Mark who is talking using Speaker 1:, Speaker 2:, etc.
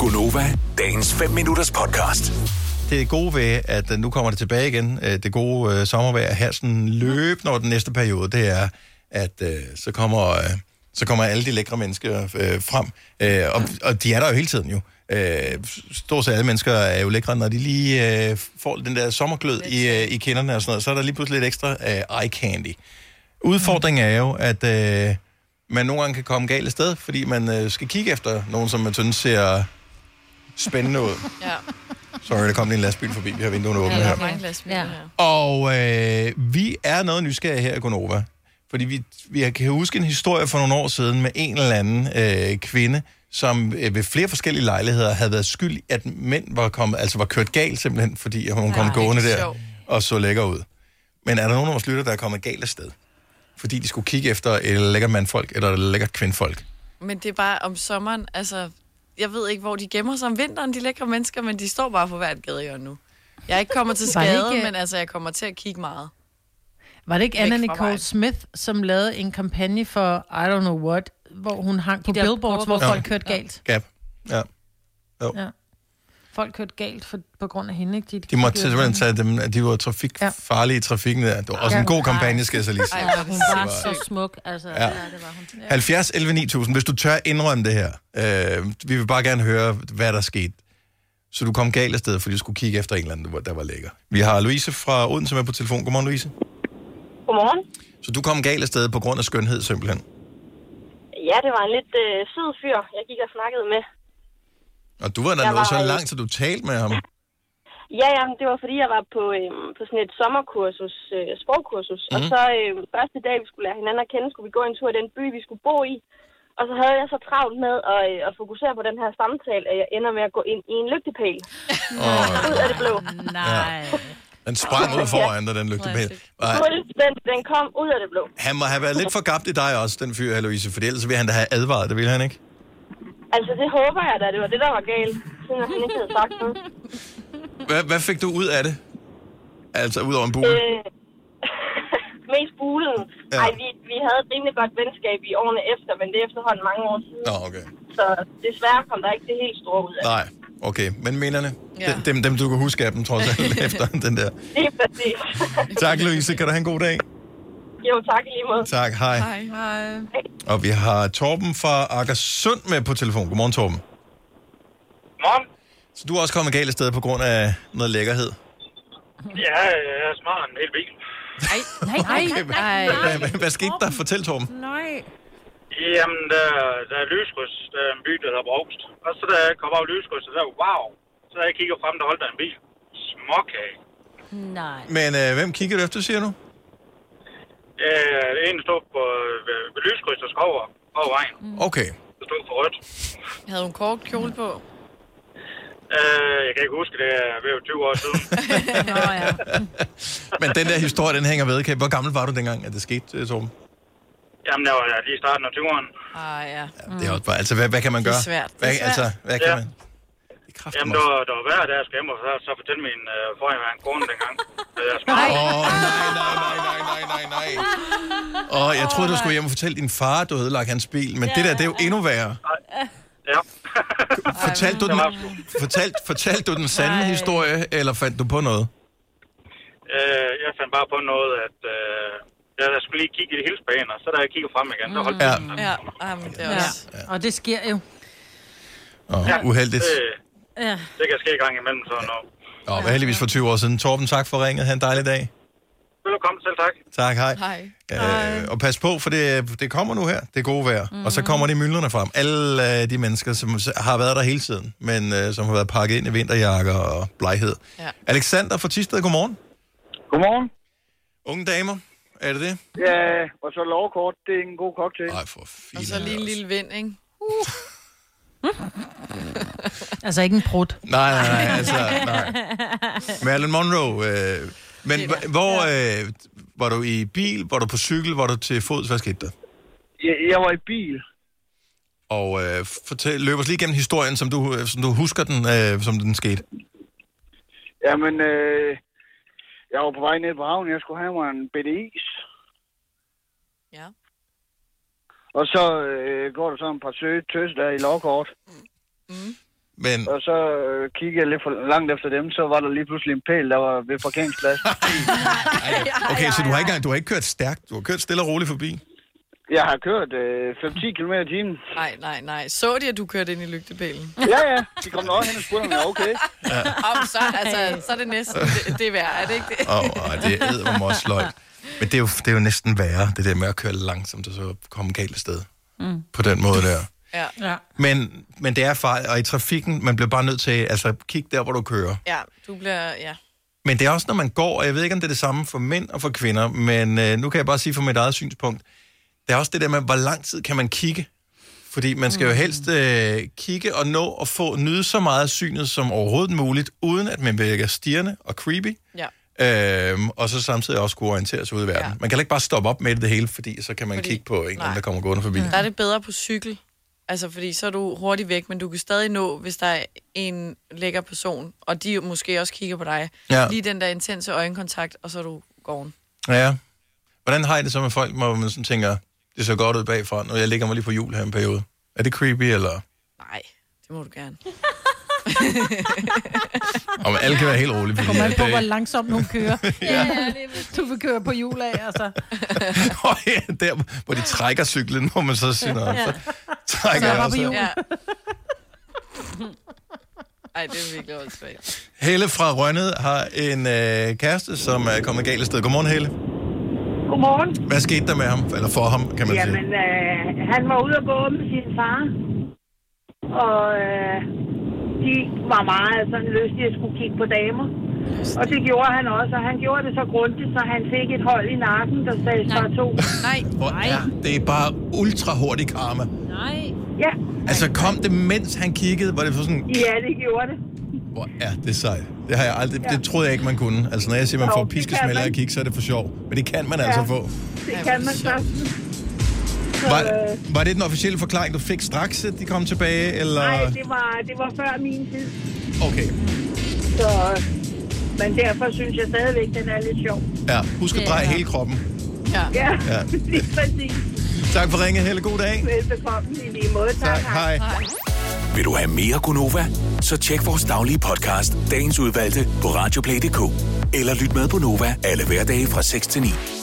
Speaker 1: Gunova, dagens 5 minutters podcast.
Speaker 2: det gode ved, at øh, nu kommer det tilbage igen, øh, det gode øh, sommervejr her sådan løbende over den næste periode, det er, at øh, så kommer, øh, så kommer alle de lækre mennesker øh, frem. Øh, og, og de er der jo hele tiden jo. Øh, stort set alle mennesker er jo lækre, når de lige øh, får den der sommerglød i, øh, i kinderne og sådan noget, så er der lige pludselig lidt ekstra øh, eye candy. Udfordringen er jo, at øh, man nogle gange kan komme galt af sted, fordi man øh, skal kigge efter nogen, som man synes ser spændende ud.
Speaker 3: Ja,
Speaker 2: Sorry, der kom lige en lastbil forbi. Vi har vinduerne åbne
Speaker 3: der
Speaker 2: her.
Speaker 3: er mange glasbiler
Speaker 4: Ja.
Speaker 3: her.
Speaker 2: Og øh, vi er noget nysgerrige her i Gonova. Fordi vi, vi kan huske en historie for nogle år siden med en eller anden øh, kvinde, som øh, ved flere forskellige lejligheder havde været skyld i, at mænd var, kommet, altså var kørt galt simpelthen, fordi hun kom
Speaker 4: det er
Speaker 2: gående
Speaker 3: ikke
Speaker 2: der
Speaker 3: sjovt.
Speaker 2: og så lækker ud. Men er der nogen af vores lytter, der er kommet galt af sted? Fordi de skulle kigge efter et lækkert mandfolk eller et lækkert kvindfolk.
Speaker 3: Men det er bare om sommeren, altså... Jeg ved ikke, hvor de gemmer sig om vinteren, de lækre mennesker, men de står bare på hvert gadehjørne nu. Jeg er ikke kommet til
Speaker 4: Var det
Speaker 3: skade,
Speaker 4: ikke-
Speaker 3: men altså, jeg kommer til at kigge meget.
Speaker 5: Var det ikke
Speaker 3: Væk
Speaker 5: Anna
Speaker 3: fra
Speaker 5: Nicole
Speaker 3: vejen.
Speaker 5: Smith, som lavede en kampagne for I don't know what, hvor hun hang på
Speaker 4: De der
Speaker 5: billboards, hvor
Speaker 4: powerboards.
Speaker 5: folk kørte galt?
Speaker 2: Gap. Ja.
Speaker 5: Ja. Folk kørte galt for, på grund af hende, ikke?
Speaker 2: De måtte simpelthen tage dem, at de var trafik,
Speaker 5: Ja.
Speaker 2: farlige i trafikken der. Det var også en
Speaker 5: Ja.
Speaker 2: god kampagne, skal jeg så lige sige.
Speaker 3: Ej, hvor
Speaker 4: Hun
Speaker 3: er
Speaker 4: var
Speaker 3: det
Speaker 4: så smuk. Altså, ja. det var hun.
Speaker 2: 70 11 9000, hvis du tør indrømme det her. Øh, vi vil bare gerne høre, hvad der skete. Så du kom galt af sted, fordi du skulle kigge efter en eller anden, der var- der var lækker. Vi har Louise fra Odense med på telefon. Godmorgen, Louise.
Speaker 6: Godmorgen.
Speaker 2: Så du kom galt af sted på grund af skønhed, simpelthen.
Speaker 6: Ja, det var en lidt øh, sød fyr, jeg gik og snakkede med.
Speaker 2: Og du var der
Speaker 6: Jeg
Speaker 2: nået
Speaker 6: var
Speaker 2: så
Speaker 6: i-
Speaker 2: langt, så du talte med ham.
Speaker 6: Ja, ja, det var fordi, jeg var på, øh, på sådan et sommerkursus, øh, sprogkursus. Mm. Og så øh, første dag, vi skulle lære hinanden at kende, skulle vi gå en tur i den by, vi skulle bo i. Og så havde jeg så travlt med at, øh, at fokusere på den her samtale, at jeg ender med at gå ind i en lygtepæl.
Speaker 2: Og
Speaker 6: Ud af det blå.
Speaker 4: Nej.
Speaker 2: den sprang ud foran dig, den lygtepæl. Og
Speaker 6: Fuldstændig, den kom ud af det blå.
Speaker 2: Han må have været lidt for gabt i dig også, den fyr her, Louise, for ellers ville han da have advaret, det ville han ikke?
Speaker 6: Altså, det håber jeg da, det var det, der var galt, siden han ikke havde sagt noget.
Speaker 2: Hvad, hvad fik du ud af det? Altså, ud over en bule?
Speaker 6: Øh, mest bulen.
Speaker 2: Ja.
Speaker 6: Ja. Ej, vi, vi havde et rimelig godt venskab i årene efter, men det er efterhånden mange år siden.
Speaker 2: Nå, okay.
Speaker 6: Så desværre kom der ikke det helt store ud af det.
Speaker 2: Nej, okay. Men minderne,
Speaker 3: Ja.
Speaker 2: ja. dem, dem du kan huske af dem, trods alt, efter den der.
Speaker 6: Lige præcis.
Speaker 2: Tak, Louise. Kan du have en god dag?
Speaker 6: jo, tak i lige måde.
Speaker 2: Tak, hej. hej.
Speaker 3: Hej.
Speaker 2: Og vi har Torben fra Akersund med på telefon. Godmorgen, Torben.
Speaker 7: Morgen.
Speaker 2: Så du er også kommet galt af sted på grund af noget lækkerhed.
Speaker 7: Ja, jeg er smart en hel bil.
Speaker 4: Nej, nej, nej.
Speaker 2: Hvad, hvad skete der? Fortæl, Torben.
Speaker 4: Nej.
Speaker 7: Jamen, der, der er lyskryds, der er en by, der hedder Brogst. Og så da jeg kom over lyskrydset, der wow. Så da jeg kigger frem, der holdt der en bil. Småkage.
Speaker 4: Nej.
Speaker 2: Men øh, hvem kigger du efter, siger du?
Speaker 7: Øh, en stod på øh, ved lyskryds og skover over vejen.
Speaker 2: Okay.
Speaker 7: Der stod for rødt.
Speaker 3: Havde hun kort kjole på?
Speaker 7: Øh, jeg kan ikke huske, det er ved 20 år siden.
Speaker 4: Nå, ja.
Speaker 2: Men den der historie, den hænger ved. Kan- Hvor gammel var du dengang, at det skete, øh, Torben?
Speaker 7: Jamen, der var jeg lige i starten af 20'erne.
Speaker 3: Ah, ja.
Speaker 2: Ja, det er også bare, altså, hvad, hvad kan man
Speaker 3: Det
Speaker 2: gøre?
Speaker 3: er svært.
Speaker 2: Hvad,
Speaker 3: Det er
Speaker 2: altså,
Speaker 3: svært.
Speaker 2: hvad kan
Speaker 7: Ja.
Speaker 2: man? Det er kraftigt.
Speaker 7: Jamen, der, var- der var hver dag, jeg skal hjem, og så, så fortalte min øh, forhenværende kone dengang. at jeg er smart.
Speaker 2: Åh, oh, nej, nej, nej, nej, nej, nej, nej. Og jeg troede, du skulle hjem og fortælle din far, at du havde ødelagt hans bil, men det der, det er jo endnu værre.
Speaker 7: Ja.
Speaker 2: Fortalte du
Speaker 7: Det
Speaker 2: den,
Speaker 7: var sgu.
Speaker 2: fortalte, fortalte du den sande historie, eller fandt du på noget?
Speaker 7: Øh, jeg fandt bare på noget, at øh, jeg, jeg skulle lige kigge i de hilsbaner, så da jeg kigger frem igen, der holdt
Speaker 2: Ja.
Speaker 3: Ja, ah, men det er
Speaker 5: Ja.
Speaker 3: også...
Speaker 5: ja. Og det sker jo.
Speaker 2: Åh, uheldigt.
Speaker 7: det,
Speaker 5: Ja.
Speaker 7: det kan ske en gang imellem sådan noget.
Speaker 2: Åh, hvad heldigvis for 20 år siden. Torben, tak for ringet. Ha' en dejlig dag.
Speaker 7: Velkommen selv, tak.
Speaker 2: Tak, hej.
Speaker 3: Hej.
Speaker 2: Øh, og pas på, for det, det kommer nu her, det gode vejr. Mm-hmm.
Speaker 3: Mhm.
Speaker 2: Og så kommer de myldrene frem. Alle øh, de mennesker, som s- har været der hele tiden, men øh, som har været pakket ind i vinterjakker og bleghed.
Speaker 3: Ja.
Speaker 2: Alexander fra Tisted, godmorgen.
Speaker 8: Godmorgen.
Speaker 2: Unge damer, er det det?
Speaker 8: Ja, og så lovkort, det er en god cocktail.
Speaker 2: Nej, for fint.
Speaker 3: Og så lige en lille vind, ikke?
Speaker 5: Altså ikke en prut.
Speaker 2: Nej, nej, nej, altså, nej. Marilyn Monroe. Øh, men
Speaker 3: Det der.
Speaker 2: hv- hvor øh, var du i bil, var du på cykel, var du til fods, hvad skete der?
Speaker 8: Jeg, jeg var i bil.
Speaker 2: Og øh, fortæl, løb os lige gennem historien, som du, øh, som du husker den, øh, som den skete.
Speaker 8: Jamen, øh, jeg var på vej ned på havnen, jeg skulle have mig en bitte is.
Speaker 3: Ja.
Speaker 8: Og så øh, går der så en par søde tøs der i lovkort.
Speaker 2: Men
Speaker 8: Og så øh, kiggede jeg lidt for langt efter dem, så var der lige pludselig en pæl, der var ved parkeringsplads.
Speaker 2: okay, så du har ikke, engang- du har ikke kørt stærkt. Du har kørt stille og roligt forbi.
Speaker 8: Jeg har kørt øh, 5-10 km i timen.
Speaker 3: Nej, nej, nej. Så de, at du kørte ind i lygtepælen?
Speaker 8: Ja, ja, de kom over hen og spurgte, om jeg var okay.
Speaker 3: Om så, altså, så er det næsten det, det er værd, er det ikke det?
Speaker 2: Åh, oh, det er også sløjt. Men det er, jo, det er jo næsten værre, det der med at køre langsomt og så komme galt af sted. Mm. På den måde der.
Speaker 3: Ja,
Speaker 5: Ja.
Speaker 2: Men, men det er fejl, og i trafikken, man bliver bare nødt til, altså kig der, hvor du kører.
Speaker 3: ja du bliver, ja.
Speaker 2: Men det er også, når man går, og jeg ved ikke, om det er det samme for mænd og for kvinder, men øh, nu kan jeg bare sige fra mit eget synspunkt, det er også det der med, hvor lang tid kan man kigge? Fordi man skal jo helst øh, kigge og nå at få nyde så meget af synet som overhovedet muligt, uden at man virker stirrende og creepy,
Speaker 3: ja.
Speaker 2: øhm, og så samtidig også kunne orientere sig ud i verden. Ja.
Speaker 3: Ja.
Speaker 2: Man kan heller ikke bare stoppe op med det hele, fordi så kan man fordi, Mm.
Speaker 3: Fordi-
Speaker 2: kigge på en eller anden,
Speaker 3: nej.
Speaker 2: der kommer gående forbi.
Speaker 3: Der er det bedre på cykel. Altså, fordi så er du hurtigt væk, men du kan stadig nå, hvis der er en lækker person, og de måske også kigger på dig.
Speaker 2: Ja.
Speaker 3: Lige den der intense øjenkontakt, og så er du gården.
Speaker 2: Ja. Hvordan har I det så med folk, hvor man sådan tænker, det ser godt ud bagfra, når jeg ligger mig lige på jul her en periode? Er det creepy, eller?
Speaker 3: Nej, det må du gerne.
Speaker 2: Og alle kan være helt rolige. fordi
Speaker 5: Kommer an
Speaker 2: at,
Speaker 5: på,
Speaker 2: øh,
Speaker 5: hvor langsomt hun kører. ja, ja, du vil køre på hjul af, altså.
Speaker 2: Åh, ja, der, hvor de trækker cyklen, hvor man så siger, "Nå, så trækker
Speaker 5: Så er
Speaker 2: jeg
Speaker 5: bare på
Speaker 2: også.
Speaker 5: hjul.
Speaker 3: Altså, Ja. Ej, det er virkelig åndssvagt.
Speaker 2: Helle fra Rønnet har en øh, kæreste, som er kommet galt af sted. Godmorgen, Helle.
Speaker 9: Godmorgen.
Speaker 2: Hvad skete der med ham, eller for ham, kan man
Speaker 9: Jamen,
Speaker 2: sige?
Speaker 9: øh, han var ude at gå med sin far, og øh, de var meget sådan lystige at skulle kigge på damer. Og det gjorde han også, og han gjorde det så grundigt, så han fik et hold i nakken, der sagde så to.
Speaker 3: Nej,
Speaker 2: Hvor er det er bare ultra hurtig karma.
Speaker 4: Nej.
Speaker 9: Ja,
Speaker 2: Altså, kom det, mens han kiggede, var det for sådan,
Speaker 9: ja, det gjorde det.
Speaker 2: hvor er det sejt. Det, har jeg aldrig, det troede jeg ikke, man kunne. Altså, når jeg siger, man
Speaker 9: Jo,
Speaker 2: får
Speaker 9: det kan
Speaker 2: piskesmælder af
Speaker 9: man.
Speaker 2: at kigge, så er det for sjov. Men det kan man altså få.
Speaker 9: Det kan man så. Så,
Speaker 2: Var,
Speaker 9: øh,
Speaker 2: var det den officielle forklaring, du fik straks, at de kom tilbage? Eller?
Speaker 9: nej, det var, det var før min tid,
Speaker 2: Okay,
Speaker 9: så... øh, Men derfor synes jeg stadigvæk, den er lidt sjov.
Speaker 2: ja. Husk at
Speaker 4: Det er
Speaker 2: dreje
Speaker 4: godt.
Speaker 2: hele kroppen.
Speaker 9: Ja,
Speaker 2: Ja.
Speaker 9: ja. lige præcis.
Speaker 2: Tak for ringet, Helle. God dag.
Speaker 9: Velbekomme i lige måde. Tak,
Speaker 2: Tak, hej.
Speaker 1: Vil du have mere Gunova? Så tjek vores daglige podcast, dagens udvalgte, på radioplay.dk. Eller lyt med på Nova alle hverdage fra 6 til 9.